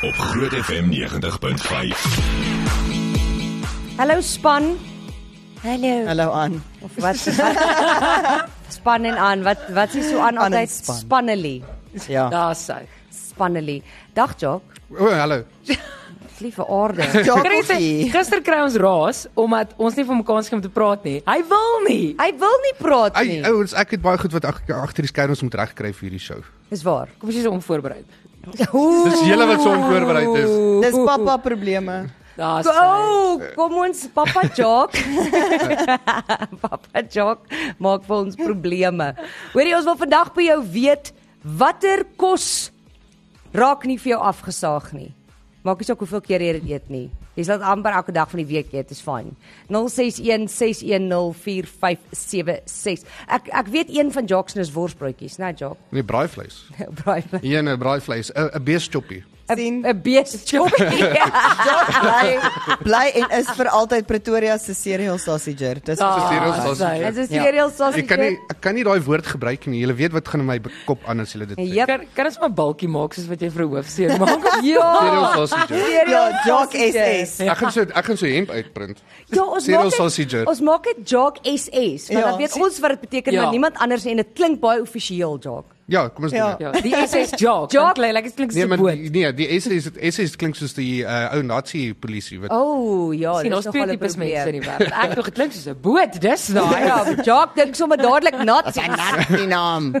op Groot FM 90.5. Hallo span. Hallo. Hallo aan. Of wat span en aan. Wat wat is so aan Aan en altyd span. spannely. Ja. Daar sou. Spannely. Dag Jock. O, hallo. Liewe aarde. Ja, Gister, Jokkie. gister kry ons raas omdat ons nie vir mekaar skielik om te praat nie. Hy wil nie. Hy wil nie praat Ai, nie. ouens, ek het baie goed wat ag- agter die skerms moet regkry vir hierdie show. Dis waar. Kom ons is onvoorbereid. Dis julle wat so onvoorbereid is. Dis pappa probleme. Daar sou. Go, Oh, kom ons pappa Jock. pappa Jock maak vir ons probleme. Hoorie, ons wil vandag by jou weet watter kos raak nie vir jou afgesaag nie. Maak nie saak hoeveel keer jy dit eet nie. Jy sal dit amper elke dag van die week eet, is fyn. 0616104576. Ek ek weet een van Jock se is worsbroodjies, né Jock? Nee, braaivleis. Braai. Hier 'n braaivleis, 'n 'n beeschoppie. 'n 'n beestjoppie. Bly bly en is vir altyd Pretoria se cereal sausager. Ah, Dis Ah. Daar hier ons was. sou. Dit is cereal Ek sausage. Ja. kan nie ek kan nie daai woord gebruik nie. Julle weet wat gaan in my be- kop aan as julle dit sê. Jep. Kan kan ons maar 'n balkie maak soos wat jy vir 'n hoofseer maak? Ja. Cereal sausage. Cereal Ja, Jock sausages. SS. Ek gaan so ek gaan so hemp uitprint. Ja, ons Cereal maak sausage. dit, ons maak dit Jock SS, want Ja. dan weet ons wat dit beteken, Ja. maar niemand anders nie en dit klink baie offisieel Jock. Ja, kom ons doen. Ja. dit. Ja, die SS joke. Jock. Joke klink like dit klink Nee, so maar boot. die- nee, die SS is SS klink soos die uh, ou Nazi polisie wat O, oh, ja, Sien ons dis twee nogal 'n tipes mense in die probleem. wêreld. Ek dink dit klink soos 'n boot. Dis daai. Ja, Jock dink sommer dadelik nat. Die naam.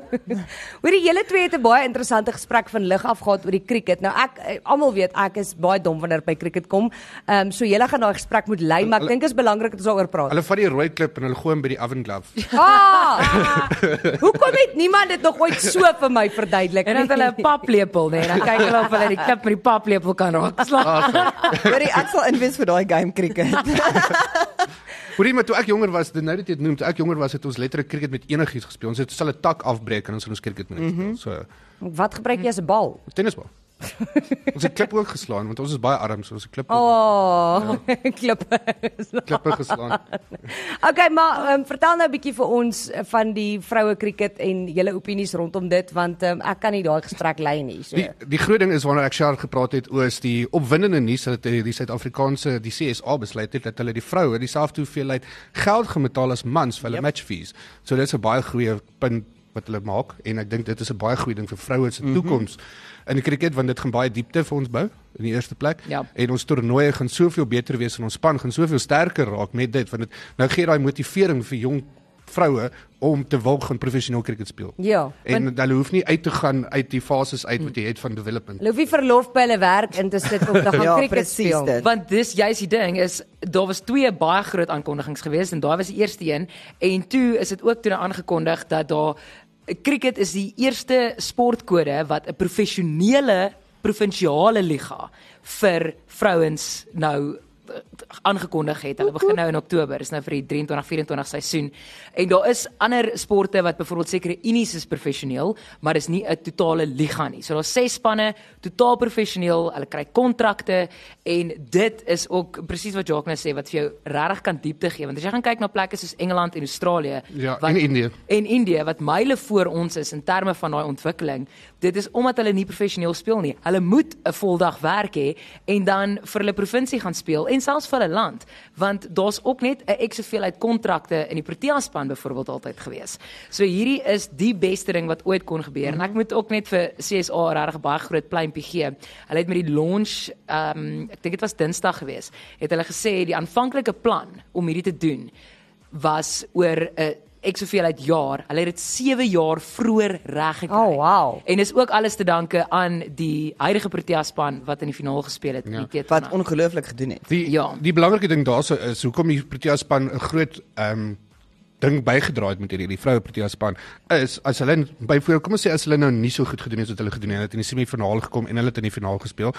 Hoorie, julle twee het 'n baie interessante gesprek van lig af gehad oor die cricket. Nou ek eh, almal weet ek is baie dom wanneer dit by cricket kom. Ehm um, so julle gaan daai gesprek moet lei, maar ek dink dit is belangrik dat ons daaroor praat. hulle vat die rooi klip en hulle gooi hom by die oven glove. Ah! Hoekom het niemand dit nog ooit so vir my verduidelik En dan het hulle 'n paplepel, nee, dan kyk hulle of hulle die klip met die paplepel kan raakslaan. Hoorie, ek sal inwees vir daai game cricket. Hoorie, maar toe ek jonger was, dit nou dat jy dit noem, toe ek jonger was het ons letterlik cricket met enigiets gespeel. Ons het sal 'n tak afbreek en ons het ons cricket met dit gespeel. So Wat gebruik jy as 'n bal? Tennisbal. ons het klip ook geslaan want ons is baie arm, so ons het klip Oh, klippe. klippe geslaan. Okay, maar um, vertel nou 'n bietjie vir ons eh, van die vroue kriket en julle opinies rondom dit want um, ek kan nie daai gesprek lei nie. So. Die die groot ding is wanneer ek Shaar gepraat het oor is die opwindende nuus dat eh, die Suid-Afrikaanse die CSA besluit het dat hulle die vroue dieselfde hoeveelheid geld gemetaal as mans vir hulle yep. match fees. So dit is 'n baie goeie punt wat hulle maak en ek dink dit is 'n baie goeie ding vir vroue se toekoms mm -hmm. in die cricket want dit gaan baie diepte vir ons bou in die eerste plek Ja. en ons toernooie gaan soveel beter wees en ons span gaan soveel sterker raak met dit want dit nou gee daai motivering vir jong vroue om te wil gaan professioneel cricket speel. Ja. En hulle hoef nie uit te gaan uit die fases uit wat jy het van development. Hulle hoef nie verlof by hulle werk in te sit om te gaan Ja, ja, kriket presies speel. dit. Want dis juist die ding is daar was twee baie groot aankondigings gewees en daai was die eerste een en toe is dit ook toe nou aangekondig dat daar cricket is die eerste sportkode wat 'n professionele provinsiale liga vir vrouens nou eh, aangekondig het. Hulle begin nou in Oktober, is nou vir die 23-24 seisoen. En daar is ander sporte wat byvoorbeeld sekere unies is professioneel, maar dis nie 'n totale liga nie. So daar's ses spanne, totaal professioneel, hulle kry kontrakte en dit is ook presies wat Jacques nou sê wat vir jou regtig kan diepte gee, want as jy gaan kyk na plekke soos Engeland en Australië Ja, wat en Indië. en Indië wat myle voor ons is in terme van daai ontwikkeling. Dit is omdat hulle nie professioneel speel nie. Hulle moet 'n voldag werk hê en dan vir hulle provinsie gaan speel en selfs vir hulle land, want daar's ook net 'n ekse veelheid kontrakte in die Protea span byvoorbeeld altyd gewees. So hierdie is die beste ding wat ooit kon gebeur en ek moet ook net vir CSA regtig baie groot pluimpie gee. Hulle het met die launch, ehm ek dink dit was Dinsdag gewees, het hulle gesê die aanvanklike plan om hierdie te doen was oor 'n ek soveel uit jaar. Hulle het dit 7 jaar vroeër reg gekry. Oh, wow. En dis ook alles te danke aan die huidige Protea span wat in die finaal gespeel het. Ja. Wat ongelooflik gedoen het. Die Ja. die belangrike ding daarso is hoekom die Protea span 'n groot ehm um, ding bygedra het met hierdie die vroue Protea span is as hulle byvoorbeeld kom ons sê as hulle nou nie so goed gedoen het wat hulle gedoen het, hulle het in die semifinale gekom en hulle het in die finaal gespeel.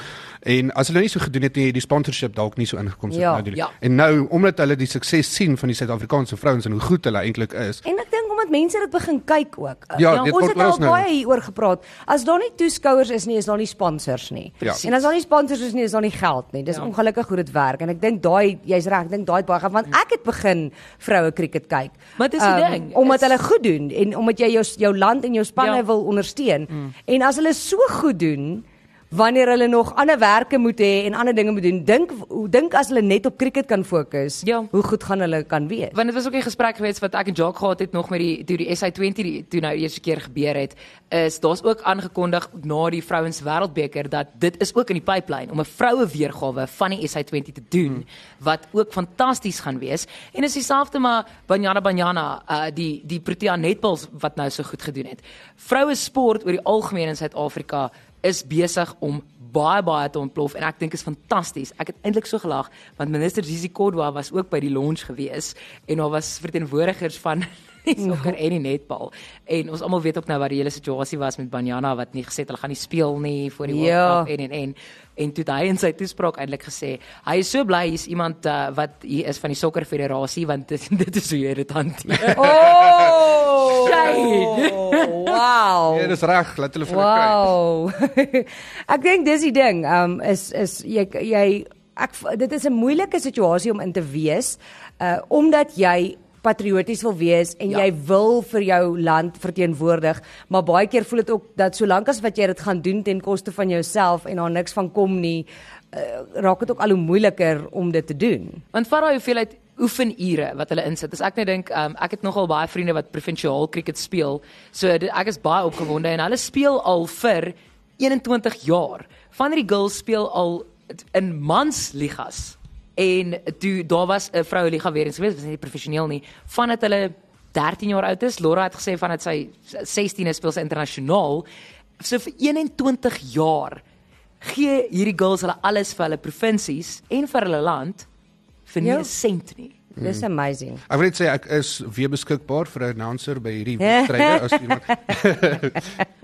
En as hulle nie so gedoen het nie, het die sponsorship dalk nie so ingekom so Ja, nou doen. ja. En nou omdat hulle die sukses sien van die Suid-Afrikaanse vrouens en hoe goed hulle eintlik is. En ek dink omdat mense dit begin kyk ook. Ja, Nou, dit ons word het al oral nou. baie hieroor gepraat. As daar nie toeskouers is nie, is daar nie sponsors nie. Ja. En as daar nie sponsors is nie, is daar nie geld nie. Dis ja. ongelukkig hoe dit werk en ek dink daai jy's reg, ek dink daai het baie gaan want ek het begin vroue cricket kyk. Ja. Maar dis die Ehm, ding, Omdat is- hulle goed doen en omdat jy jou jou land en jou spanne Ja. ja. wil ondersteun. Mm. En as hulle so goed doen wanneer hulle nog ander werke moet hê en ander dinge moet doen. Dink hoe dink as hulle net op cricket kan fokus, Ja. hoe goed gaan hulle kan wees? Want dit was ook 'n gesprek geweest wat ek en Jacques gehad het nog met die toe die SA20 die- toe nou die eerste keer gebeur het, is daar's ook aangekondig na die vrouens wêreldbeker dat dit is ook in die pipeline om 'n vroue weergawe van die SA20 te doen wat ook fantasties gaan wees. En is dieselfde maar Banyana Banyana uh die die Protea Netballs wat nou so goed gedoen het. Vroue sport oor die algemeen in Suid-Afrika is besig om baie baie te ontplof en ek dink is fantasties. Ek het eintlik so gelag want minister Zizi Kodwa was ook by die launch gewees en daar was verteenwoordigers van die sokker en die netbal. En ons almal weet ook nou wat die hele situasie was met Banyana wat nie gesê het hulle gaan nie speel nie voor die Ja. World Cup en en en en toe het hy in sy toespraak eintlik gesê hy is so bly hier's iemand uh, wat hier is van die sokkerfederasie want dit, dit is hoe jy dit hanteer. Oh! Shane! Wow. Ja, dis reg, laat hulle vir hulle kry. Wow. ek dink dis die ding. Um is is jy jy ek dit is 'n moeilike situasie om in te wees uh omdat jy patrioties wil wees en Ja. ja. jy wil vir jou land verteenwoordig, maar baie keer voel dit ook dat solank as wat jy dit gaan doen ten koste van jouself en daar niks van kom nie, uh, raak dit ook al hoe moeiliker om dit te doen. Want vat daai hoeveelheid oefenure wat hulle insit. As ek net dink, um, ek het nogal baie vriende wat provinsiaal cricket speel. So dit, ek is baie opgewonde en hulle speel al vir 21 jaar. Van hierdie girls speel al t- in mansligas. En toe daar was 'n vroue liga weer eens geweest, was nie professioneel nie. Vandat hulle 13 jaar oud is, Laura het gesê vandat sy 16 is, speel sy internasionaal. So vir 21 jaar gee hierdie girls hulle alles vir hulle provinsies en vir hulle land vir nie Ja. 'n sent nie. Dis amazing. Ek wil net sê ek is weer beskikbaar vir 'n announcer by hierdie wedstryde as iemand ek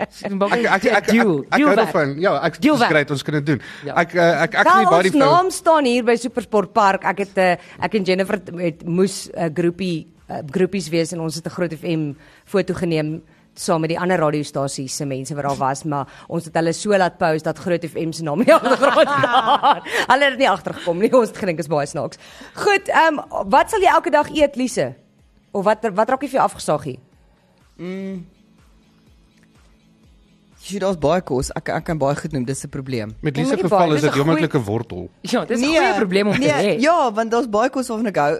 ek ek ek ek hou daarvan. Ja, ek Deal dis werk. great, ons kan dit doen. Ja. Ek eh, ek ek Wel, nie baie ons die vrou. naam staan hier by Supersport Park. Ek het 'n ek en Jennifer t- het moes 'n groepie uh, groepies wees en ons het 'n Groot FM foto geneem saam met die ander radiostasies se mense wat daar was, maar ons het hulle so laat post dat Groot FM se naam nie agtergrond staan. hulle het nie agtergekom nie. Ons het gedink is baie snaaks. Goed, ehm um, wat sal jy elke dag eet, Lise? Of wat wat raak jy vir jou afgesaagie? Jy daar's baie kos. Ek ek kan baie goed noem, dis 'n probleem. Met Ja, Lise maar die geval baai- is dis dit een jommerdlike wortel. Ja, dis 'n goeie probleem om te hê. Nee. Ja, want daar's baie kos waarvan ek hou.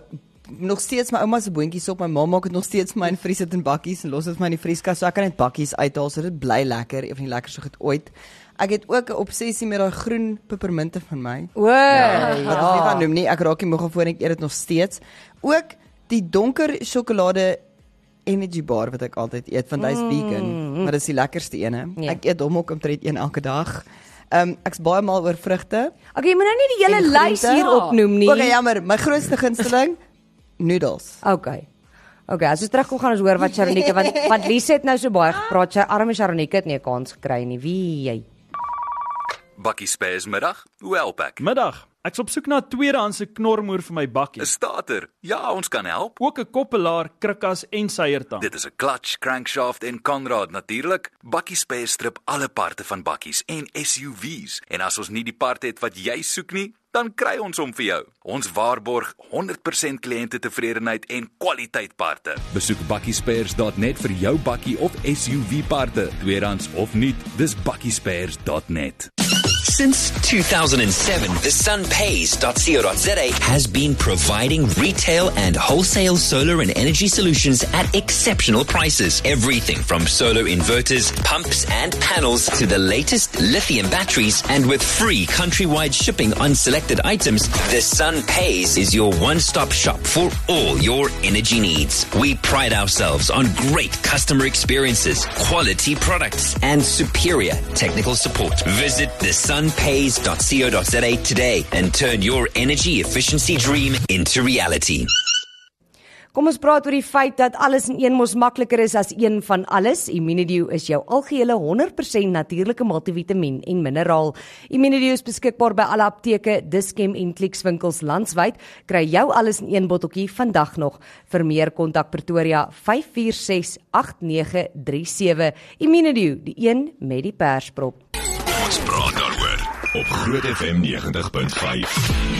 Nog steeds my ouma se boontjies op, my ma maak dit nog steeds vir my in vries dit in bakkies en los dit vir my in die vrieskas, so ek kan net bakkies uithaal, so dit bly lekker, een van die lekkerste goed ooit. Ek het ook 'n obsessie met daai groen pepermunte van my. O, Ja. Wat ons nie Ah. gaan noem nie. Ek raak nie moeg daarvoor en ek eet dit nog steeds. Ook die donker sjokolade energy bar wat ek altyd eet want hy's mm. vegan, maar dis die lekkerste ene. Ja. Yeah. Ek eet hom ook omtrent een elke dag. Ehm um, ek's baie mal oor vrugte. Okay, jy moet nou nie die hele En lys groente. ja, hier opnoem nie. Okay, jammer. My grootste gunsteling noedels. Okay. Okay, as ons terugkom gaan ons hoor wat Sharonike want want Lise het nou so baie gepraat. Sy arme Sharonike het nie 'n kans gekry nie. Wie jy? Bakkie Spares middag, hoe help ek? Middag. Ek's op soek na 'n tweedehandse knormoer vir my bakkie. 'n Stater. Ja, ons kan help. Ook 'n koppelaar, krikkas en seiertang. Dit is 'n clutch, crankshaft en Conrad natuurlik. Bakkie Spares strip alle parte van bakkies en SUV's. En as ons nie die part het wat jy soek nie, dan kry ons hom vir jou. Ons waarborg 100% kliënte tevredenheid en kwaliteit parte. Besoek bakkiespares.net vir jou bakkie of SUV parte, tweedehands of nuut. Dis bakkiespares.net. Since 2007, the sunpays.co.za has been providing retail and wholesale solar and energy solutions at exceptional prices. Everything from solar inverters, pumps and panels to the latest lithium batteries and with free countrywide shipping on selected items, the Sun Pays is your one-stop shop for all your energy needs. We pride ourselves on great customer experiences, quality products, and superior technical support. Visit thesunpays.co.za today and turn your energy efficiency dream into reality. Kom ons praat oor die feit dat alles in een mos makliker is as een van alles. Immunedio is jou algehele 100% natuurlike multivitamiën en mineraal. Immunedio is beskikbaar by alle apteke, Dischem en Clicks winkels landwyd. Kry jou alles in een botteltjie vandag nog. Vir meer kontak Pretoria 5468937. Immunedio, die een met die persprop. Ons praat daaroor op Groot FM 90.5.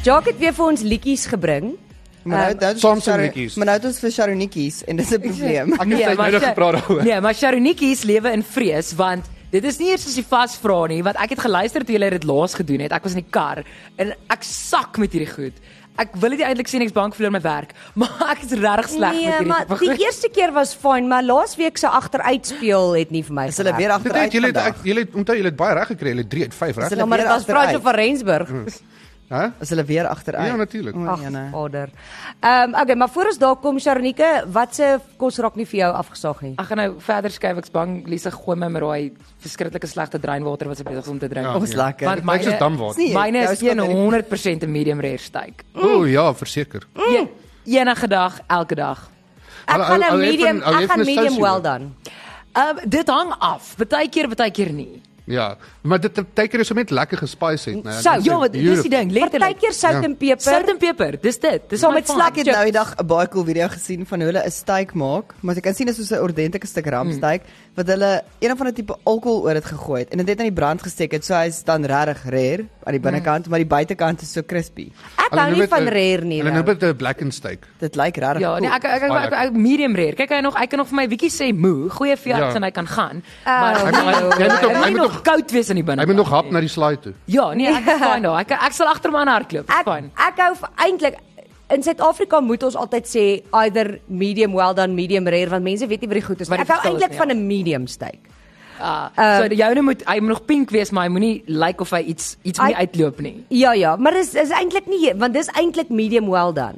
Jock het weer vir ons liedjies gebring Ehm, Maar nou dan Samsung netjies. Maar nou het ons vir Sharonetjies en dis 'n probleem. Ek het net maar middag Sha- gepraat daaroor. Nee, maar Sharonetjies lewe in vrees want dit is nie eers as jy vasvra nie, want ek het geluister toe julle dit laas gedoen het. Ek was in die kar en ek sak met hierdie goed. Ek wil dit eintlik sê niks bank verloor my werk, maar ek is regtig sleg met Nee, hierdie maar tipe die goed. eerste keer was fyn, maar laasweek se agteruitspeel het nie vir my Is hulle weer Dit het agteruit? julle vandag? het julle het onthou julle het baie reg gekry, julle 3 uit 5 reg. Is Ja, maar dit weer was Fransjo agteruit? van Rensburg. Mm. Hæ? Is hulle Mm. weer agteruit? Ja, natuurlik. O, Ag, jene. vader. Ehm okay, maar voor ons daar kom Sharonike, watse kos raak nie vir jou afgesaag nie? Ek gaan nou verder skuif, ek's bang Lisa gooi my met daai verskriklike slegte dreinwater wat sy besig is om te drink. Ja. Ons lekker. Want Dit is myne- damwater. Nee, Myne jou is skot in die- 100% 'n medium rare steak. O ja, verseker. Mm. Enige dag, elke dag. Ek Al- gaan al- 'n al jy medium, van- al jy ek gaan van 'n medium sousie well hoor. dan. Um dit hang af. Partykeer, partykeer nie. Ja, maar dit partykeer is so net lekker gespice het, né? Sout. Dit is Ja, wat dis die beautiful. ding, letterlik. Partykeer sout Ja. en peper. Sout en peper, dis dit. Dis Saam my met fun. slak Ek het nou die dag 'n baie cool video gesien van hoe hulle 'n steak maak, maar jy kan sien dit is soos 'n ordentlike stuk rampsteak Hmm. wat hulle een van 'n tipe alkohol oor dit gegooi het en dit het aan die brand gesteek het. So hy's dan regtig rare aan die binnekant, Hmm. maar die buitekant is so crispy. Ek Hulle hou noem nie dit van een- rare nie. Hulle nou. noem dit 'n black and steak. Dit lyk regtig Ja, cool. nee, ek ek ek, Baie ek, ek medium rare. Kyk, hy nog hy kan nog vir my bietjie sê moe. Goeie Ja. verjaardag en hy kan Hy gaan. Maar moet- hy moet nog- hy hy moet moet nog nog- koud wees aan die binne. Hy moet nog hap na die slaai toe. Ja, nee, ek is fine daar. Ek ek sal agter my aan hardloop. Ek Fine. ek hou v- eintlik in Suid-Afrika moet ons altyd sê either medium well dan medium rare want mense weet nie wat die goed is. nie. Wat die Ek hou verskil is eintlik nie, ja. van 'n medium steak. Ah, Ehm, so die joune moet hy moet nog pink wees, maar hy moenie lyk of hy iets iets Hy- nie uitloop nie. Ja ja, maar dis is eintlik nie want dis eintlik medium well dan.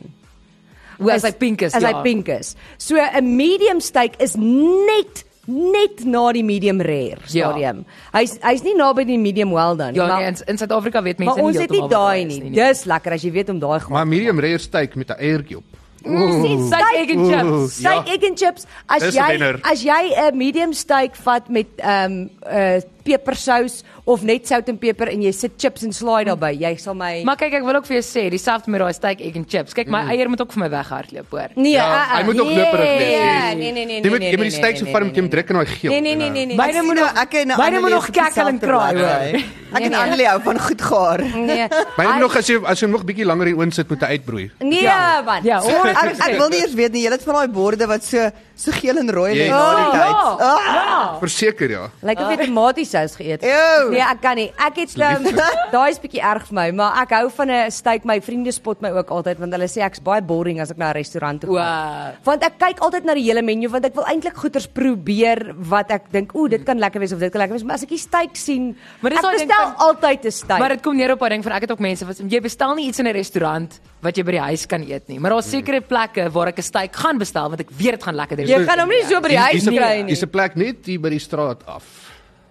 Hoe as hy pink is, As ja. hy pink is. So 'n medium steak is net net na die medium rare Ja. stadium. Hy's hy's nie naby die medium well dan nie, Ja, maar nee, in, in Suid-Afrika weet mense maar ons het nie heeltemal nee. wat daai daar is nie. Dis lekker as jy weet om daai gaan. Maar medium rare steak met 'n eiertjie op. Ooh. Steak egg and chips. Ja. Steak egg and chips. As Dis 'n jy wenner. as jy 'n medium steak vat met ehm um, uh pepersous of net sout en peper en jy sit chips en slaai daarbey, jy sal my Maar kyk, ek wil ook vir jou sê, dieselfde met daai steak egg and chips. Kyk, my eier moet ook vir my weghardloop, hoor. Mm. Nee, Ja, uh, uh, hy moet ook nee, loperig wees. Nee, nee, nee, nee. Jy moet nee, jy moet die nee, steak so nee, vat nee, met hom nee, druk en ja. daai geel. Nee, nee, nee, nee, nee. Myne Ek moet sien nog- nou, ek en myne moet Annelies nog op kakkel en dieselfde kraai, bladsy. hoor. Ek Nee, en nee. Annelie hou van goed gaar. nee. Maar jy Hy- moet nog as jy as jy hom nog bietjie langer in oond sit met 'n uitbroei. Nee, Ja, man. Ja, Ek ek wil nie eers weet nie, jy het van daai borde wat so so geel en rooi lê Yes. na die tyd. Ah! Ja. Ja. Verseker ja. Lyk of jy tomatiesous geëet Ew. Nee, ek kan nie. Ek het um, daai is bietjie erg vir my, maar ek hou van 'n steak. My vriende spot my ook altyd want hulle sê ek's baie boring as ek na 'n restaurant toe eh, gaan. Wow. Want ek kyk altyd na die hele menu want ek wil eintlik goeters probeer wat ek dink, ooh, dit kan lekker wees of dit kan lekker wees, maar as ek die steak sien, Maar dis ek daai ding bestel van- altyd 'n steak. Maar dit kom neer op daai ding van ek het ook mense wat jy bestel nie iets in 'n restaurant wat jy by die huis kan eet nie. Maar daar's Mm. sekere plekke waar ek 'n steak gaan bestel want ek weet dit gaan jy lekker wees. gaan hom nie so by die huis Dis 'n- kry nie. Dis 'n plek net hier by die straat af.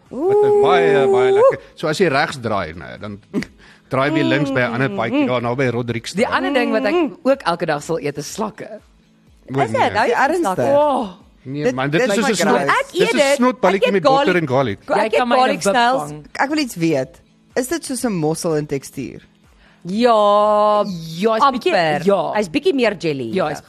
Wat 'n baie baie lekker. So as jy regs draai nou, dan draai jy links by 'n Mm, ander paadjie daar naby Rodrigues. Die ander ding wat ek ook elke dag sal eet is slakke. Is dit? Nou jy Ernstig? ernstig. Oh, Nee Dit- man, dit dit is soos is 'n my snot. graai. Ek eet Dis 'n dit. Ek snotballetjie eet met garlic. botter en garlic. jy Ek eet kan my garlic garlic snails. snails. Ek wil iets weet. Is dit soos 'n mossel in tekstuur? Ja, Ja, hy's bietjie ja. Hy's bietjie meer jelly. Ja, is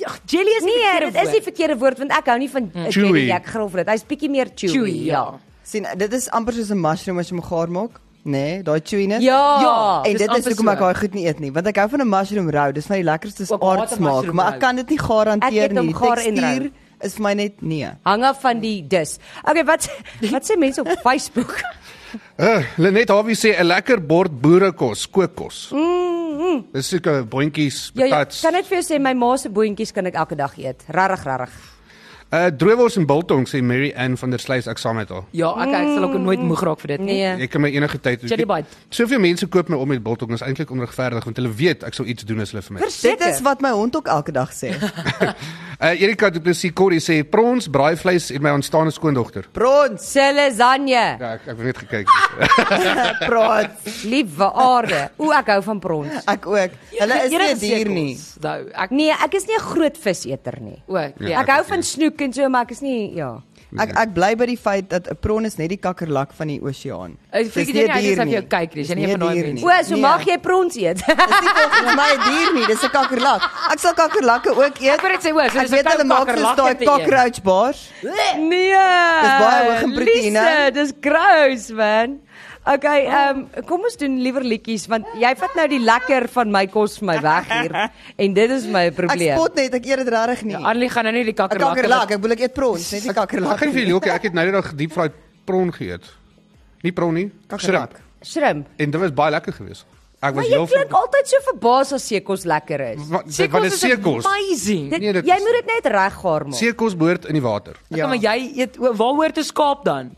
ja, jelly is Nee, nie Hmm. dit is die verkeerde woord want ek hou nie van mm. jelly Chewy. nie, ek grof dit. Hy's bietjie meer chewy. chewy, ja. sien dit is amper soos 'n mushroom as jy hom gaar maak, nê? Nee, daai chewiness. Ja. Ja. En dis dit is amper hoekom ek so. daai goed nie eet nie, want ek hou van 'n mushroom rou. Dis my die lekkerste Ook haat 'n aardsmaak, mushroom maar rou. ek kan dit nie Ek gaar eet hanteer hom nie. gaar en rou. Tekstuur is vir my net nee. Hang af van die dis. Okay, wat wat sê mense op Facebook? Uh, Lenet Harvey sê 'n lekker bord boerekos, kookkos. Mm, mm. Dis seker boontjies, Ja, ja, patats. kan ek vir jou sê my ma se boontjies kan ek elke dag eet. Regtig, regtig. Uh droewors en biltong sê Mary Ann van der Sluys ek saam met haar. Ja, ek ek sal ook nooit moeg raak vir dit nie. Nee. Ek kan my enige tyd Chili bite. Soveel mense koop my om met biltong, is eintlik onregverdig want hulle weet ek sou iets doen as hulle vir my. Dit is Verseker. wat my hond ook elke dag sê. Uh Erika Du Plessis Corrie sê prons, braaivleis en my aanstaande skoondogter. Prons, Se lasagne. Ja, ek ek het net gekyk. prons. Liewe aarde. O, ek hou van prons. Ek ook. Hulle is nie 'n dier nie. Nou, ek Nee, ek is nie 'n groot viseter nie. ook. Ja, Ja. Ek hou van snoek en so, maar ek is nie ja. Ek ek bly by die feit dat 'n pron is net die kakkerlak van die oseaan. Ek Dis freak nie jy nie 'n uit dier as ek nie. jou kyk nie. Jy Dis nie van nie 'n daai dier mense. nie. O, so Nee. mag jy prons eet. Dis nie volgens my 'n dier nie, dis 'n kakkerlak. Ek sal kakkerlakke ook eet. Ek wou net sê, hoor, so ek dis 'n weet hulle maak soos kakkerlakke daai te eet. cockroach bars. nee. Dis baie hoog in proteïen. Christina. Jesusie, dis gross man. Okay, ehm um, kom ons doen liewer liedjies want jy vat nou die lekker van my kos vir my weg hier en dit is my Ek probleem. spot net, ek eet dit regtig nie. Annelie gaan nou nie die 'n kakkerlakke Kakkerlak, ek bedoel ek eet prons, net nie Ek kakkerlak. gaan vir julle ook ek het nou net daag deep fried prawn geëet. Nie prawn nie, Kakkerlak. shrimp. Shrimp. En dit was baie lekker geweest. Ek Maar was jy heel klink altyd so verbaas as seekos lekker is. Wat dit- wat is seekos? Amazing. Dit, Nee, dit jy is- moet dit net reggaar maak. Seekos behoort in die water. Ja, maar jy eet o, waar hoor te skaap dan?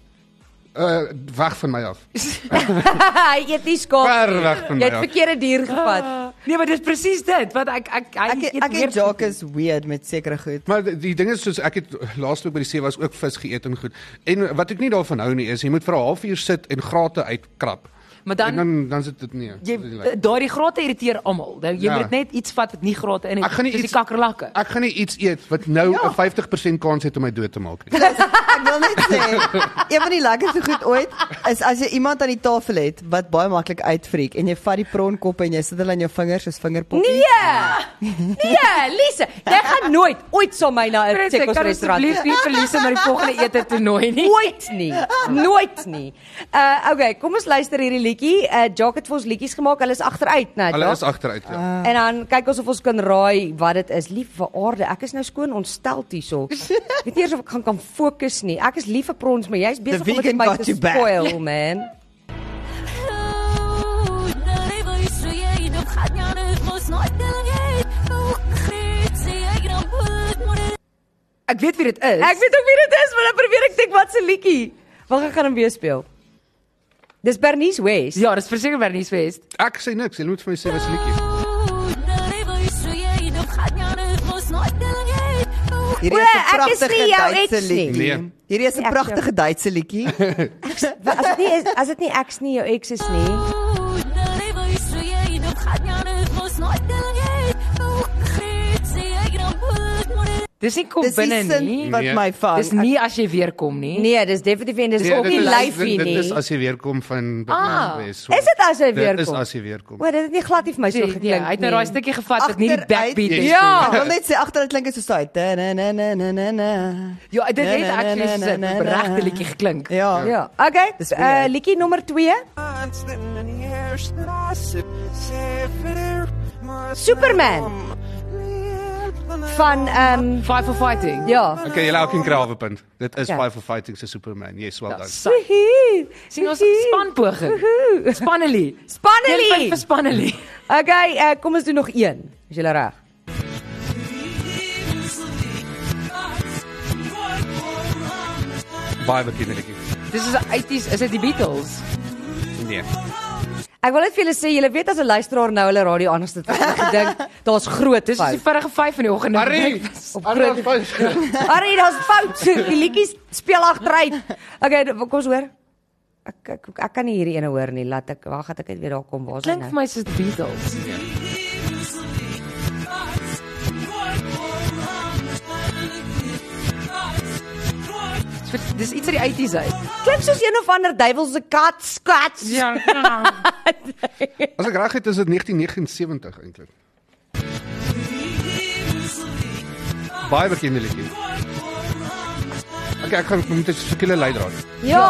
Uh weg van my af. Hy eet nie skaap. Ver weg Jy van my het af. verkeerde dier gevat. Nee, maar dis presies dit wat ek ek hy Ek ek meer en Jacques is weird met sekere goed. Maar die- die ding is soos ek het laasweek by die see was ook vis geëet en goed. En wat ek nie daarvan hou nie is jy moet vir 'n halfuur sit en grate uitkrap. Maar dan, en dan dan sit dit nie. jy dit is nie lekker. daardie grate irriteer almal. Nou, Jy Ja. moet net iets vat wat nie grate in Ek het, gaan nie soos die iets- kakkerlakke. Ek gaan nie iets eet wat nou Ja. 'n 50% kans het om my dood te maak nie. Ek wil net sê, een van die lekkerste goed ooit is as jy iemand aan die tafel het wat baie maklik uitfreek en jy vat die pronkoppe en jy sit hulle aan jou vingers soos vingerpoppies. Nee! Nee, Lise, jy gaan nooit ooit saam my na 'n Prins, ek sekos kan restaurant. asseblief nie verlies na die volgende ete toernooi nie. Ooit nie. Nooit nie. Uh okay, kom ons luister hierdie liedjie. Uh Jock het vir ons liedjies gemaak. Hulle is agteruit, né? Hulle Jock? is agteruit. Ja. En dan kyk ons of ons kan raai wat dit is. Lief vir aarde, ek is nou skoon ontstel hierso. Ek weet nie eers of ek gaan kan fokus nie. Ek is lief vir prons, maar jy's besig om dit vir vegan my got te you back. spoil, man. Ek weet wie dit is. Ek weet ook wie dit is, maar dan probeer ek dink wat se liedjie. Wag, ek gaan hom weer speel. Dis Bernice West. Ja, dis verseker wel nie fees. Ah. Ek sê niks. Jy moet vir my sê wat se liedjie. Hierdie O, is 'n ek is pragtige nie jou Duitse ets nie. liedjie. Nee. Hierdie Ja, is 'n Ek- pragtige Duitse liedjie. Wa- As dit nie is, as dit nie ek's nie, jou ex is nie. Dis nie kom Dis binne die nie. sin wat Nee. my vang. Dis nie as jy weer kom nie. Nee, dis definitief en dis Nee, ook dit nie is- lyfie dit- nie. Dit is as jy weer kom van Ah. Wes. so- Is dit as jy weer Dit is kom? as jy weer kom. O, dit het nie glad nie vir my so Nee, geklink nee, hy het nou daai nie. stukkie gevat wat nie die Agteruit. backbeat is. Ja. Ek wil net sê agteruit klink dit so saai. Na na na na na na. Ja, dit Na, het na, actually na, soos na, 'n na, na. regte liedjie geklink. Ja. Ja, okay. Dis Uh, weird. liedjie nommer 2. Superman. Van ehm um, Five for fighting. ja. Okay, jy laat geen krawe punt. Dit is Ja. Five for Fighting se Superman. Yes, well Ja, done. sa- Sien ons spanpoging. Spannelie. Spannelie. Een punt vir Spannelie. Okay, uh, kom ons doen nog een. Is jy reg? Baie bekende liedjie. Dis is 80s, is dit die Beatles? Nee. Ek wil net vir julle sê, julle weet as 'n luisteraar nou hulle radio anders het gedink, daar's groot Dis is die fout. vinnige 5 in die oggend. Harry. Op Harry. groot Harry. Harry, daar's fout. Die liedjies speel agteruit. Okay, d- kom ons hoor. Ek ek, ek kan nie hierdie ene hoor nie. Laat ek wag, ek het weer daar kom. Waar's hy Klink vir nou? my soos die Beatles. So, Dis iets uit die 80s uit. Klink soos een of ander duiwelse kat skat. Ja. ja. As ek reg het, is dit 1979 eintlik. Baie bekende liedjie. Okay, ek gaan moet dit sekere leidraad. Ja.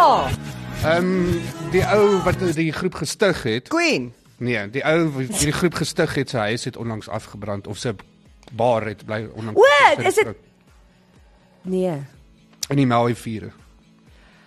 Ehm um, die ou wat die groep gestig het. Queen. Nee, die ou wat hierdie groep gestig het, sy huis het onlangs afgebrand of sy bar het bly onlangs. O, afgebrand. is dit- Nee, in die Maui vure?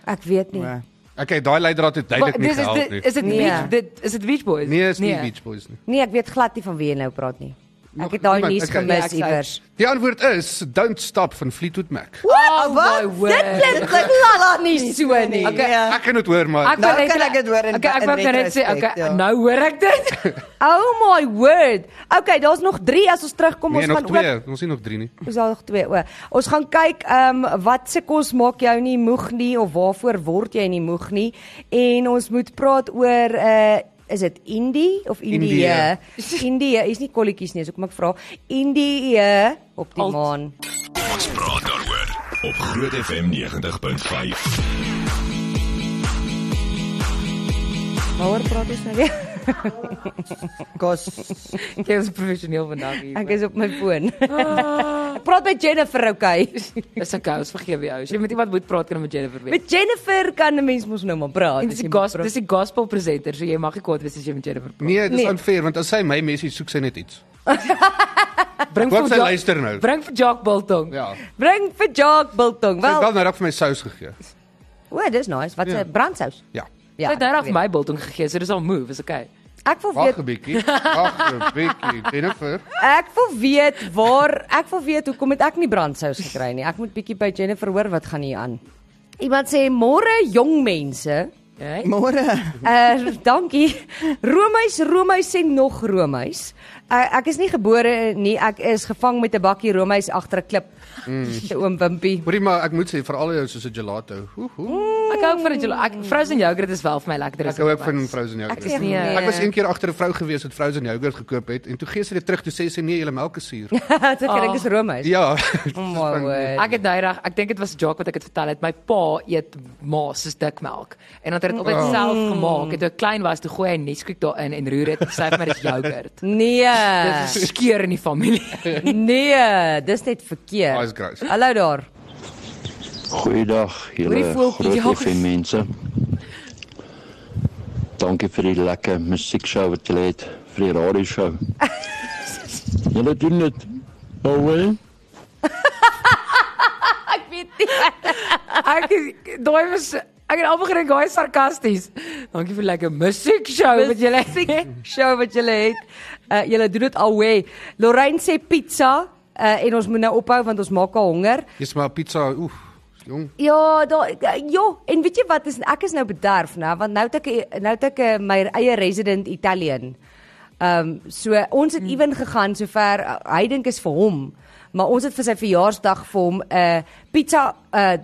ek weet nie. Nee. Okay, daai leidraad het Maar duidelik nie dis is gehelp dit nie. is dit Nee. Beach dit is dit Beach Boys. Nee, is nie Beach Boys nie. Nee, ek weet glad nie van wie jy nou praat nie. Nog Ek het daai niemand, nuus okay. gemis Nee, ek sê- iewers. Die antwoord is Don't Stop van Fleetwood Mac. Oh, my Dit klink word. like glad nie so nie. Okay. Ja. Ek kan dit hoor, maar Ek ek, Nou wou net- kan ek dit hoor in- Okay, ek in wou net sê, retrospect, okay, ja. nou hoor ek dit. Oh my word. Okay, daar's nog 3 as ons terugkom. nee, ons nog gaan ook twee, ons sien nog drie nie. Ons daar nog twee o. Ons gaan kyk ehm um, wat se kos maak jou nie moeg nie of waarvoor word jy nie moeg nie en ons moet praat oor 'n uh, is dit Indie of Indië? Indië. Indië is nie kolletjies nie, so kom ek vra. Indië op die Alt. maan. Ons praat daaroor op Groot FM 90.5. Waaroor praat ons nou weer? Kos. Jy is professioneel vandag hier. Ek is op my foon. ek praat met Jennifer, okay? Dis okay, ons vergewe jou. As jy met iemand moet praat kan jy met Jennifer weet. met Jennifer kan 'n mens mos nou maar praat. En as dis jy die moet gospel, praat. dis die gospel presenter, so jy mag nie kwaad wees as jy met Jennifer praat. Nee, dis Nee. nee. unfair want as sy my message soek sy net iets. Bring Hoop sy Ja- luister nou. Bring vir Jock Biltong. Ja. Bring vir Jacques Biltong. Sy het Wel, wel nou dalk vir my sous gegee. o, dis nice. Wat 'n Ja. brandsous. Ja. Ja, Ja. Sy het nou ek reg weet. my Biltong gegee, so dis al move, is okay. Ek wil Wag weet 'n bietjie. Wag 'n bietjie. Jennifer. Ek wil weet waar ek wil weet hoekom het ek nie brandsous gekry nie. Ek moet bietjie by Jennifer hoor wat gaan hier aan. Iemand sê môre jong mense Hey? Môre. Uh dankie. Romeis, Romeis en nog Romeis. Uh, ek is nie gebore nie, ek is gevang met 'n bakkie Romeis agter 'n klip. Mm. Oom Wimpie. Hoorie maar ek moet sê vir al jou soos 'n gelato. Hoe hoe. Ek hou ook van dit julle. Ek frozen yogurt is wel vir my lekkerder Ek hou ook van frozen yogurt. Ek is nie, nie. Ek was een keer agter 'n vrou gewees wat frozen yogurt gekoop het en toe gee sy dit terug toe sê sy nee, julle melk is suur. Ek dink dis Romeis. Ja. Oh my word. Ek het nou reg, ek dink dit was Jock wat ek het vertel het. My pa eet maas soos dikmelk en dan het hy dit altyd oh. self gemaak. En Toe ek klein was, toe gooi hy Nesquik daarin en roer dit, sê hy vir my dis yogurt. Dit Nee. is skeer in die familie. Nee, eh, dis net verkeerd. Ah, is gross. Hallo daar. Goeiedag Hoorie, julle voeltjie, ja. groot FM mense. Dankie vir die lekker musiekshow wat julle het, vir die radio show. julle doen dit. Oh well. ek is- daai was ek het al begin daai is sarkasties. Dankie vir lekker musiek show wat julle show wat julle het. Uh julle doen dit alweer. Lorraine sê pizza uh en ons moet nou ophou want ons maak al honger. Dis maar pizza. Oef. Jong. Ja, daar ja, en weet jy wat is ek is nou bederf, né, want nou het ek nou het ek eh, my eie resident Italian. Ehm um, so ons Hmm. het ewen gegaan sover eh, hy dink is vir hom, maar ons het vir sy verjaarsdag vir hom 'n uh, pizza uh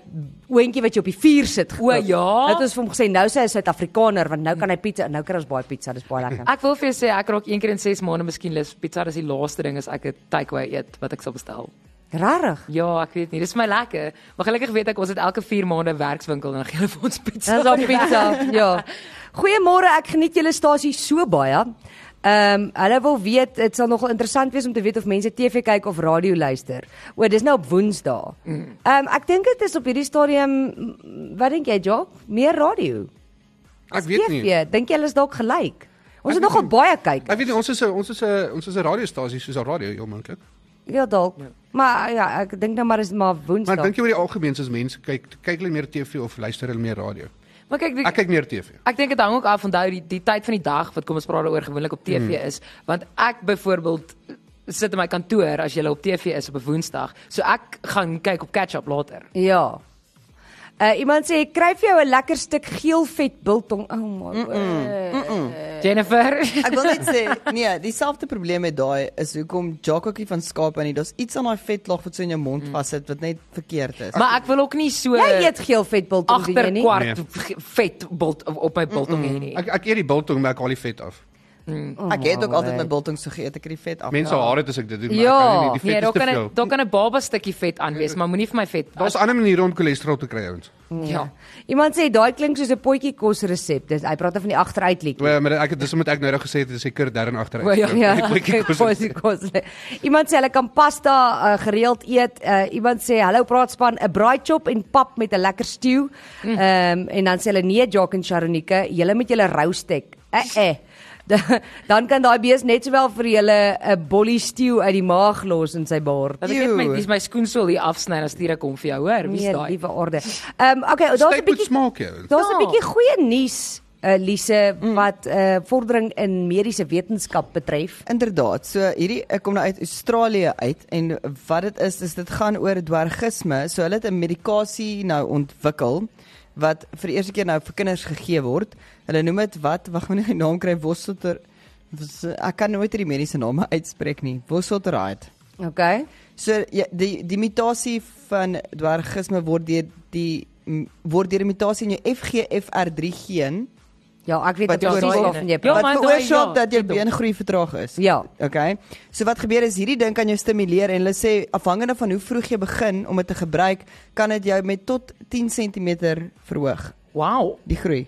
oentjie wat jy op die vuur sit gekoop. O, ja? Het ons vir hom gesê nou sê hy is Suid-Afrikaner want nou kan hy pizza en nou kry ons baie pizza, dis baie lekker. Ek wil vir jou sê ek raak een keer in 6 maande miskien lus vir pizza. Dis die laaste ding as ek 'n takeaway eet wat ek sal bestel. Rarig. Ja, ek weet nie. Dis vir my lekker. Maar gelukkig weet ek ons het elke 4 maande 'n werkswinkel en dan gee hulle vir ons pizza. Dis op pizza. ja. Goeiemôre, ek geniet julle stasie so baie. Ehm um, hulle wil weet, dit sal nogal interessant wees om te weet of mense TV kyk of radio luister. O, dis nou op Woensdae. Ehm um, ek dink dit is op hierdie stadium mm, wat dink jy, Jock? Meer radio. Ek weet nie. TV, dink jy hulle is dalk gelyk? Ek Ons het weet nogal nie. baie kyk. Ek weet nie, ons is 'n ons is 'n ons is 'n radiostasie soos 'n radio heel moontlik. Ja, dalk. Maar ja, ek dink nou maar is maar Maar ek Woensdae. dink jy oor die algemeen as mense kyk kyk hulle meer TV of luister hulle meer radio? Maar kyk, die, Ek kyk meer TV. Ek dink dit hang ook af onthou die die tyd van die dag wat kom ons praat daaroor gewoonlik op TV mm. is, want ek byvoorbeeld sit in my kantoor as jy op TV is op 'n Woensdag. So ek gaan kyk op catch up later. Ja. Uh iemand sê kry vir jou 'n lekker stuk geel vet biltong. Oh my god. Mm -mm. Jennifer, Ek wil net sê, nee, dieselfde probleem met daai is hoekom Jackie van Skaap aan nie. Daar's iets aan daai vetlaag wat so in jou mond vassit wat net verkeerd is. maar ek wil ook nie so Jy eet geel vet biltong doen jy agter nie? kwart Nee. nee. vet bult op- op my biltong hê nie. Ek ek eet die biltong maar ek haal die vet af. Ek het ook altyd my biltong so geëet, ek het die vet af. Mense haat dit as ek dit doen, maar Ja. ek hou nie die Ja. vet Nee, is daar te kan 'n veel. daar kan 'n baba stukkie vet aan wees, maar moenie vir my vet. Daar's ander maniere om cholesterol te kry, ouens. ja. nee. Iemand sê daai klink soos 'n potjie kos resep. Dis hy praat dan van die agteruit liedjie. Wel, Ehm, maar ek dis omdat ek nou net gesê het dis seker daarin agter. Wel, ja, Ja, okay, potjie kos. Iemand sê hulle kan pasta uh, gereeld eet. Uh, iemand sê hallo praatspan 'n braai chop en pap met 'n lekker stew. Mm. Ehm um, en dan sê hulle nee Jock en Sharonike, julle met julle rou steak. Eh eh. Da- Dan kan daai bees net sowel vir julle 'n bollie stew uit die maag los in sy baard. Dat ek net my Ew. dis my skoensool hier afsny dan stuur ek hom vir jou, hoor. Wie's Nee, daai? liewe orde. Ehm um, okay, daar's 'n Steak moet bietjie smaak jou. Daar's 'n Ja. bietjie goeie nuus, uh, Lise, wat uh, vordering in mediese wetenskap betref. Inderdaad. So hierdie ek kom nou uit Australië uit en wat dit is is dit gaan oor dwergisme. So hulle het 'n medikasie nou ontwikkel wat vir die eerste keer nou vir kinders gegee word. Hulle noem dit wat wag moet ek die naam kry Wosselter Wos- ek kan nooit hierdie mediese name uitspreek nie. Wosselteride. Okay. So ja, die die mutasie van dwergisme word deur die m- word deur 'n mutasie in jou FGFR3 geen Ja, ek weet Wat presies oor daai waarvan jy ene. Ja, praat. wat maar daai- veroorsaak ja, dat jou dit ook. beengroei vertraag is. Ja. Okay. So wat gebeur is hierdie ding kan jou stimuleer en hulle sê afhangende van hoe vroeg jy begin om dit te gebruik, kan dit jou met tot 10 cm verhoog, Wow. die groei.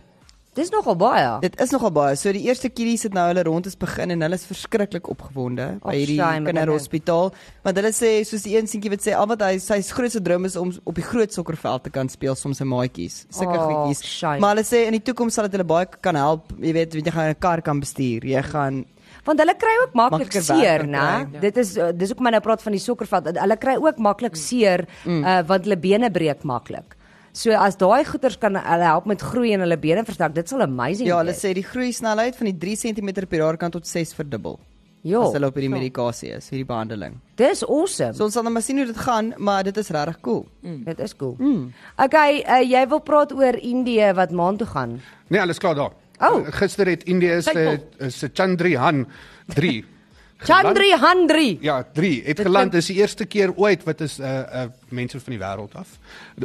Dis nogal baie. Dit is nogal baie. So die eerste kiddies het nou hulle rondes begin en hulle is verskriklik opgewonde by Ag, hierdie shame, kinderhospitaal want hulle sê soos die een seentjie wat sê al wat hy sy grootste droom is om op die groot sokkerveld te kan speel soms sy maatjies. Sulke Ag, goedjies. shame. Maar hulle sê in die toekoms sal dit hulle baie kan help. Jy weet, want jy gaan 'n kar kan bestuur. Jy gaan Want hulle kry ook maklik Makliker seer, werk né? kry, ja. Dit is uh, dis hoekom ek nou praat van die sokkerveld. Hulle kry ook maklik seer uh, want hulle bene breek maklik. So as daai goeters kan hulle help met groei en hulle bene versterk, dit sal amazing ja, hulle wees. sê die groei snelheid van die 3 cm per jaar kan tot 6 verdubbel. Jo, as hulle op hierdie medikasie is, hierdie behandeling. Dis awesome. So ons sal nou maar sien hoe dit gaan, maar dit is regtig cool. Dit is cool. Okay, uh, jy wil praat oor Indië wat maand toe gaan. Nee, alles klaar daar. Oh. Gister het Indië se eh, se Chandrayaan 3. Chandrayaan 3. Ja, 3 het geland is die eerste keer ooit wat is 'n uh, uh, mense van die wêreld af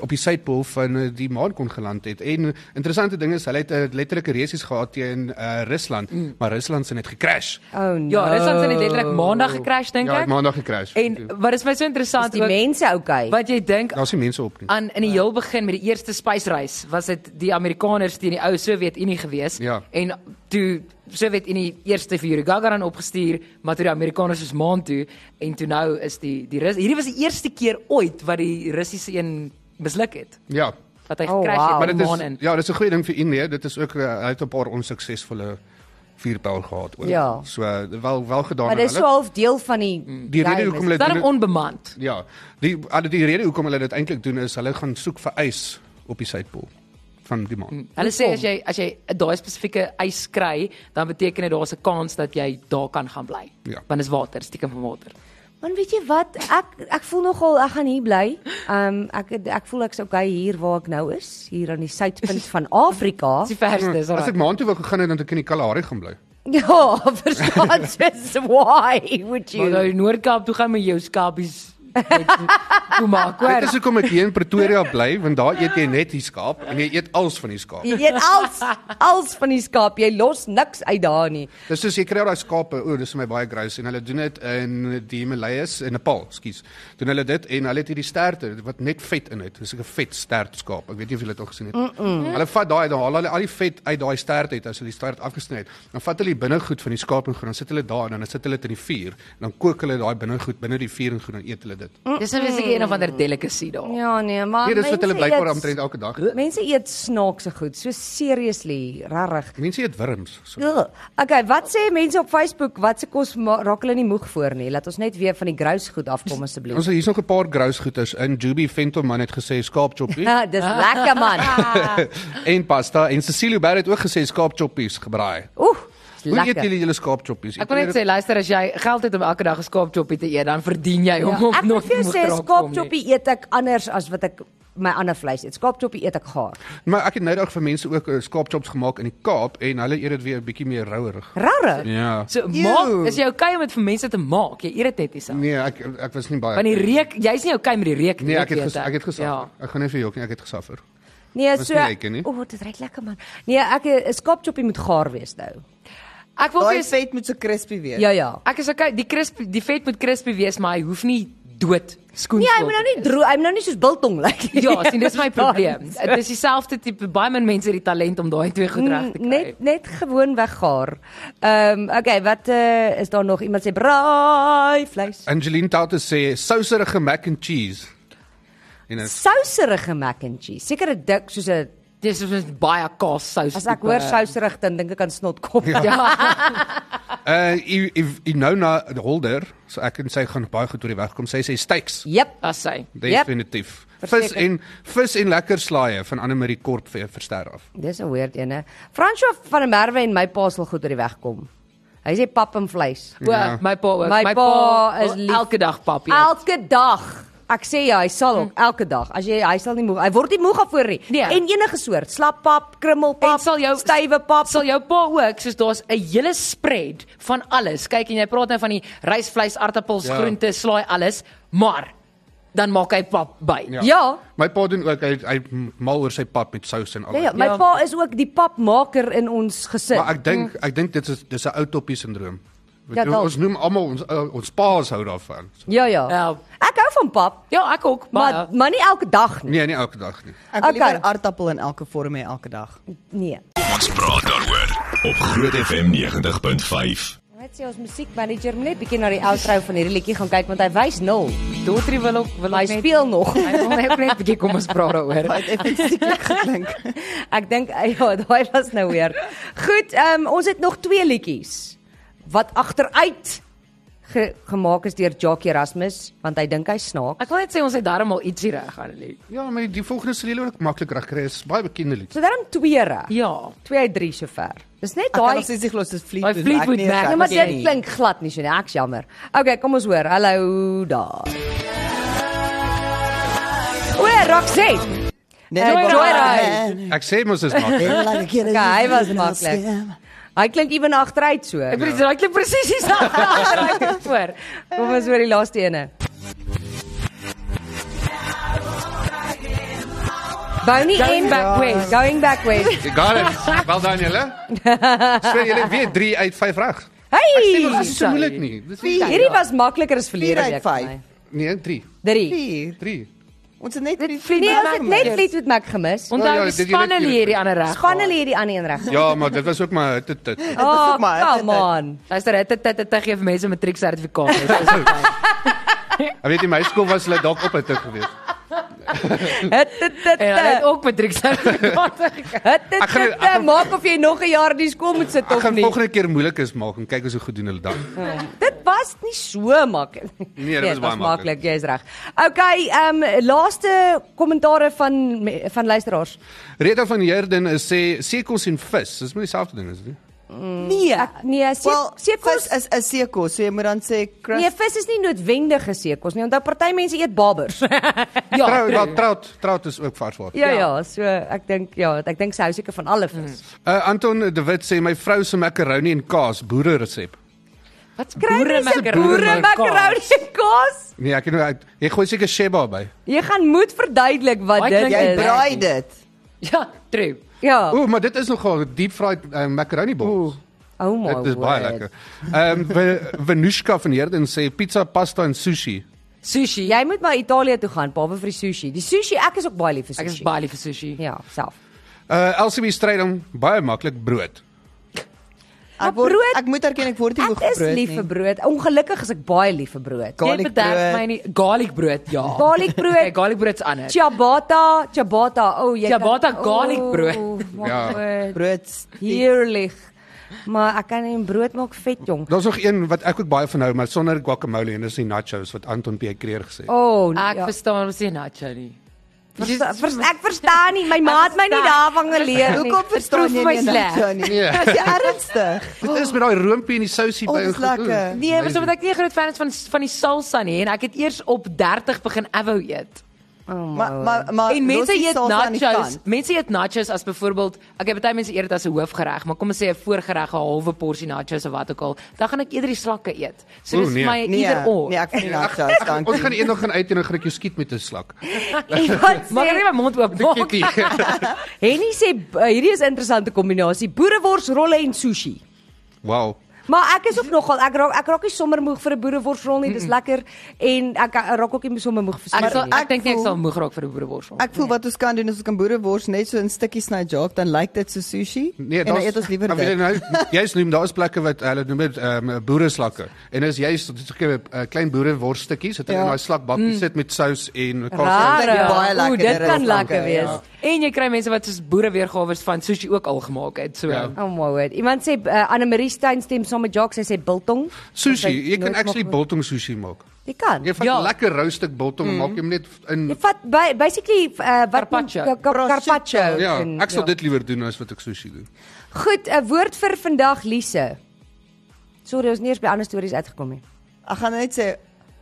op die suidpool van uh, die maan kon geland het. En eh, interessante ding is hulle het uh, letterlike resies gehad teen uh, Rusland, mm. maar Rusland se net gecrash. Oh nee. Ja, Rusland het letterlik maandag gecrash dink Ja, ek. het maandag gecrash. en wat is my so Is interessant die ook mense okay? wat jy dink daar's nie mense op nie. aan in die heel begin met die eerste spysreis was dit die Amerikaners teen die ou Sowjetunie gewees Ja. en toe Sowjetunie eerste vir Yuri Gagarin opgestuur maar toe die Amerikaners is maan toe en toe nou is die die Rus hierdie was die eerste keer ooit wat die Russiese een misluk het Ja. wat hy Oh, gekrash wow. het Maar met dit die maan is in ja, dit is 'n goeie ding vir Indië. Dit is ook uh, hy het 'n paar onsuksesvolle vuurpyl gehad ook. Ja. So uh, wel wel gedaan Maar aan dis so half deel van die Die rede hoekom hulle doen daarom dit- onbemand Ja, die hulle die rede hoekom hulle dit eintlik doen is hulle gaan soek vir ys op die suidpool van die maan. Hulle sê as jy as jy daai spesifieke ys kry, dan beteken dit daar's 'n kans dat jy daar kan gaan bly. Ja. Want dis water, stiekem van water. Man weet jy wat? Ek ek voel nogal ek gaan hier bly. Ehm um, ek ek voel ek's okay hier waar ek nou is, hier aan die suidpunt van Afrika. Dis die verste, dis Hmm. Mm. As ek al. maan toe wou gegaan het dan het ek in die Kalahari gaan bly. Ja, verstaan jy why would Maar you? nou Noord-Kaap toe gaan met jou skapies. Kom maar, Dit is kwart. hoekom ek hier in Pretoria bly want daar eet jy net die skaap en jy eet als van die skaap. Jy eet als als van die skaap. Jy los niks uit daar nie. Dis soos jy kry daai skape, o, dis vir my baie gross en hulle doen dit in die Himalayas in Nepal, skus. Doen hulle dit en hulle het hierdie sterte wat net vet in het. Dis 'n vet stert skaap. Ek weet nie of julle dit al gesien het. Mm -mm. Hulle vat daai dan haal hulle al die vet uit daai stert uit as hulle die stert afgesny het. Dan vat hulle die binnegoed van die skaap en goed, dan sit hulle daar en dan sit hulle dit in die vuur en dan kook hulle daai binnegoed binne die vuur en goed en eet hulle dit. Dis 'n besige een of ander delicacy daar. Mm. Ja nee, maar Nee, dis wat mense hulle blykbaar eet- omtrent elke dag. Mense eet snaakse goed. So seriously, regtig. Mense eet wurms. So. Ugh. Okay, wat sê mense op Facebook? Wat se kos ma- raak hulle nie moeg voor nie? Laat ons net weer van die grous goed afkom asseblief. Ons hier's nog 'n paar grouse goeters in. Juby Ventoman het gesê skaapchoppie Ja, dis lekker man. en pasta en Cecilio Barrett het ook gesê skaapchoppies gebraai. Oeh, dis Hoe eet lekker. julle julle skaapchoppies? Ek wil net sê luister as jy geld het om elke dag 'n skaapchoppie te eet, dan verdien jy hom om Ja. Ek moet nooit vir jou moeg sê te raak kom nie. skaapchoppie eet ek anders as wat ek my ander vleis eet. Skaapchoppie eet ek gaar. maar ek het nou dag vir mense ook uh, skaapchops gemaak in die Kaap en hulle eet dit weer 'n bietjie meer rouerig. Rarig. Ja. So maak, is jy okay om dit vir mense te maak? Jy eet dit net nie self. Nee, ek ek was nie baie. Want die reuk, jy's nie okay met die reuk nie. Nee, ek dit het weet ges, ek het gesaffer. Ja. Ja. Ek gaan nie vir jou nie, ek het gesaffer. Nee, Dis so nie lekker nie. O, oh, dit reuk lekker man. Nee, ek 'n skaapchoppie moet gaar wees nou. Ek wil vir Daai jou sê vet moet so crispy wees. Ja ja. Ek is okay, die crisp die vet moet crispy wees, maar hy hoef nie dood skoen. Nee, hy moet nou nie droog, hy moet nou nie soos biltong lyk. Like. Ja, sien dis my probleem. Dit is dieselfde tipe baie min mense het die talent om daai twee goed reg te kry. Mm, Net net gewoon weggaar. Ehm um, okay, wat uh, is daar nog iemand sê braai vleis? Angeline Tate sê souserige mac and cheese. En dit Souserige mac and cheese. Seker 'n dik soos 'n dis is baie kaas sous. as ek tipe. hoor souserig dan dink ek aan snotkop. Ja. uh u u- Inona Holder, so ek en sy gaan baie goed oor die weg kom. Sy sê steaks. Jep. as sy. Yep. Definitief. Vis Verseker. en vis en lekker slaaie van Anne Marie Korp vir verster af. Dis 'n weird een hè. François van der Merwe en my pa sal goed oor die weg kom. Hy sê pap en vleis. O, Ja. my pa ook. My pa is wil lief. elke dag papie. Elke dag. Ek sê ja, hy sal ook elke dag. As jy hy sal nie moeg. Hy word nie moeg daarvoor nie. Nee. En enige soort, slappap, krummelpap, En sal jou- stywe pap. Sal jou pa ook, soos daar's 'n hele spread van alles. Kyk en jy praat nou van die rys, vleis, aartappels, Ja. ja. groente, slaai, alles, maar dan maak hy pap by. Ja. Ja. My pa doen ook hy hy mal oor sy pap met sous en Ja, alles. ja, my Ja. pa is ook die papmaker in ons gesin. Maar ek dink ek dink dit is dis 'n ou toppie sindroom. Mm. Ja, Ja, dalk. ons noem almal ons uh, ons paas hou daarvan. So, Ja ja. Ja. Ek hou van pap, Ja, ek ook. maar Maar maar nie elke dag nie. nee, nie elke dag nie. Ek wil Okay. liever aartappel in elke vorm hê elke dag. Nee. Ons praat daaroor op Groot FM 90.5. Net sê ons musiekmanager moet net bietjie na die outro van hierdie liedjie gaan kyk want hy wys nul. Dotrie wil ook wil Hy ook net speel nog. Hy wil net ook net 'n bietjie kom ons praat daaroor. Hy het effens sieklik geklink. Ek dink eh, ja, daai was nou weer. Goed, ehm ons het nog twee liedjies wat agteruit ge gemaak is deur Jackie Erasmus want hy dink hy snaaks. Ek wil net sê ons het darm al ietsie reg aan lê. Ja, maar die, die volgende sal julle ook maklik regkry. Is baie bekende lied. So daarom twee reg. Ja. 2 uit 3 sover. Dis net Ek kan daai nog steeds nie glo dis Daai Fleetwood Fleetwood Mac. ek Nee, maar ken dit nie. klink glad nie so nie. Ek's jammer. Okay, kom ons hoor. Hallo daar. O, Roxette. Net Nee, Eh, Bob Joyride. Dylan. Ek sê mos is maklik. Like a killer. Okay, hy was maklik. Hy klink ewen agteruit so. Ek Ja. bedoel dit klink presies dieselfde as wat voor. Kom ons hoor die laaste ene. Bonnie Going en back west. Going back west. You got it. Wel done julle. So julle weet 3 uit 5 reg. Ek sê mos Hey! dis nie so moeilik nie. Dis nie- Hierdie was makliker as verlede Vier uit week. vyf. vir my. nee, 3. Drie. Hier. 3. Ons het net Dit Fleetwood vlieg Nee, ons net het net Fleetwood Mac gemis. Ja, Onthou die ja, dit- dit- dit- spanne lê hierdie ander reg. Spanne lê die ander een reg. Ja, maar dit was ook maar dit dit. Oh, ook maar, come on. Luister, dit dit dit- dit gee vir mense matriek sertifikate. Ek weet in my skool was hulle dalk op dit gewees. Dit dit dit. En hulle Ja, het ook matriek sertifikate gekry. Dit dit Ek gaan- dit, ek gaan- eh, maak of jy nog 'n jaar in die skool moet sit Ek of gaan nie. volgende keer moeilikes maak en kyk hoe se goed doen hulle dan. Dit was nie so maklik. Nee, dit was dit baie maklik. maklik. Jy's reg. Okay, ehm laaste kommentare van me- van luisteraars. Reda van Herden is sê seekos en vis, dis maar dieselfde ding is dit nie? Nee. Ek nee, se- Wel, seekos vis is 'n seekos, so jy moet dan sê crust. Nee, vis is nie noodwendig geseekos nie. Onthou party mense eet babers. Ja, trout, wel, trout, trout is ook varswater. ja ja, so ek dink ja, ek dink sou seker van alle vis. Uh, Anton de Wit sê my vrou se macaroni en kaas boere resep. Wat Kry jy se boere makaroni en kaas? Nee, ek nou ek, ek gooi seker sheba by. Jy gaan moet verduidelik wat Ek dit dink Jy is. braai- braai dit. Ja, true. Ja. O, maar dit is nogal deep fried uh, macaroni balls. Oh my god. Dit is baie lekker. Ehm um, Venushka van Herden sê pizza, pasta en sushi. Sushi. Jy moet maar Italië toe gaan, behalwe vir die sushi. Die sushi, ek is ook baie lief vir Ek is sushi. baie lief vir sushi. Ja, self. Uh LCB stryding baie maklik brood. Maar Ek word brood- ek moet erken ek word nie Ek hoog is brood lief vir nie. brood. Ongelukkig is ek baie lief vir brood. Jy Garlic bederf my brood. nie garlic brood, ja. Garlic brood. Nee, garlic brood's anders. Ciabatta, ciabatta. O, oh, jy Ciabatta garlic brood. Ja. Ja. Brood. Heerlik. Maar ek kan nie brood maak vet jong. Daar's nog een wat ek ook baie van hou, maar sonder guacamole en dis die nachos wat Anton P Kreer gesê het. O, oh, Ek verstaan mos nie nacho nie. Versta, vers, ek verstaan nie. My ma het my nie verstaan. daarvan geleer nie. Hoekom verstaan jy proef my nie sleg. nou nie? Nee. Is jy ernstig? Dit is met daai roompie en die sousie O, by dis en goed. Mm. lekker. Oeh, Nee, maar amazing. sommer ek nie 'n groot fan is van van die salsa nie en ek het eers op 30 begin avou eet. Maar maar maar en mense los die eet salsa aan die nachos. kant. Mense eet nachos as byvoorbeeld, okay, baie mense eet dit as 'n hoofgereg, maar kom ons sê 'n voorgereg, 'n halwe porsie nachos of wat ook al, dan gaan ek eerder die slakke eet. So Oeh, dis vir nee. my Nee, either or. nee, ek vind die nachos Ons gaan dankie. eendag gaan uit en 'n grikkie skiet met 'n slak. Wat Maar ek het sê nie my mond oop maak. Kitty. Henny sê b- hierdie is 'n interessante kombinasie: boerewors, rolle en sushi. Wow. Maar ek is ook nogal ek raak ek raak nie sommer moeg vir 'n boereworsrol nie. Dis lekker en ek ek raak ook nie sommer moeg vir Ek sushi. sal nie. ek dink nie ek voel- sal moeg raak vir 'n boereworsel. Ek voel wat ons kan doen is ons kan boerewors net so in stukkies sny jaak, dan lyk dit so sushi. Nee, en dan daar's- eet ons liewer maar weet jy dit. nou, jy's noem daar's plekke wat hulle noem dit ehm um, boere slakke. En as jy sulke uh, klein boere worsstukkies wat hulle Ja. in daai slakbakkie sit met sous en kaas. Dit klink Rare. baie Ooh, dit lekkerder as kan lekker lekker, wees. ja. En jy kry mense wat soos boereweergawe van sushi ook al gemaak het. So Ja. ja. Oh my word. Iemand sê uh, Anne Marie Stein stem saam met Jacques, sy sê biltong. Sushi, Sy- jy kan nooit actually mag- biltong sushi maak. Jy kan. Jy vat Ja. lekker rou stuk biltong en maak hom net in Jy vat by, basically uh, wat Carpaccio. ka- ka- carpaccio. Ja, en- ek sal dit liewer doen as wat ek sushi doen. Goed, 'n woord vir vandag Lise. Sorry, ons het nie eens by ander stories uitgekom nie. Ek gaan net sê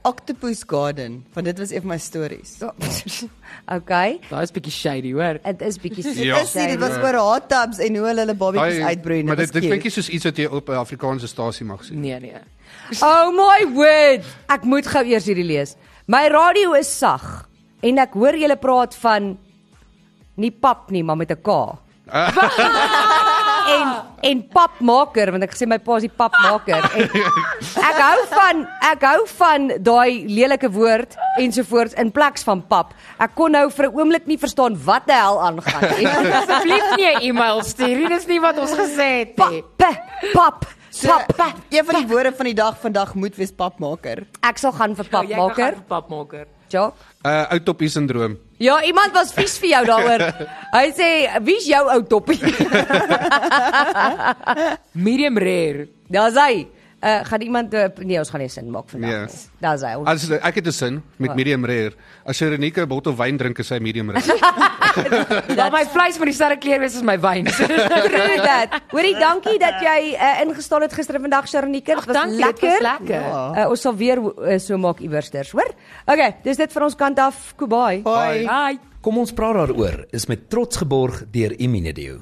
Octopus Garden, want dit was een van my stories. Okay. daai is bietjie shady, hoor. Dit is bietjie Dit Ja. is nie, dit was oor hot tubs en hoe hulle hulle babatjies uitbroei en maar dit dit was dit klink nie cute. soos iets wat jy op 'n Afrikaanse stasie mag sien. Nee, nee. Oh my word. Ek moet gou eers hierdie lees. My radio is sag en ek hoor julle praat van nie pap nie, maar met 'n K. en en papmaker want ek gesê my pa is die papmaker en ek hou van ek hou van daai lelike woord ensovoorts in plek van pap. Ek kon nou vir 'n oomblik nie verstaan wat die hel aangaan nie. Asseblief nie 'n e-mail stuur nie. Dis nie wat ons gesê het nie. Pap, pap, So, pap. een van die woorde van die dag vandag moet wees papmaker. Ek sal gaan vir Nou, jy kan gaan papmaker. vir Papmaker. Ja. Uh ou toppie sindroom. Ja, iemand was vies vir jou daaroor. Hy sê, "Wie's jou ou toppie?" Medium rare. Daar's hy. Uh, gaan iemand uh, nee, ons gaan nie sin maak vandag. Nee. Yes. Daar's hy. Ons, As ek het 'n sin met medium rare. As jy Renike 'n bottel wyn drink, is hy medium rare. Laat my vleis met dieselfde kleur wees as my wyn. True that. Hoorie, dankie dat jy uh, ingestaan het gister en vandag Sharonike. Dit was Dankie, dit lekker. was lekker. Ja. Uh, ons sal weer uh, so maak iewersters, hoor? Okay, dis dit van ons kant af. Kubai. Hoi. Hi. Kom ons praat daaroor is met trots geborg deur Imunedio.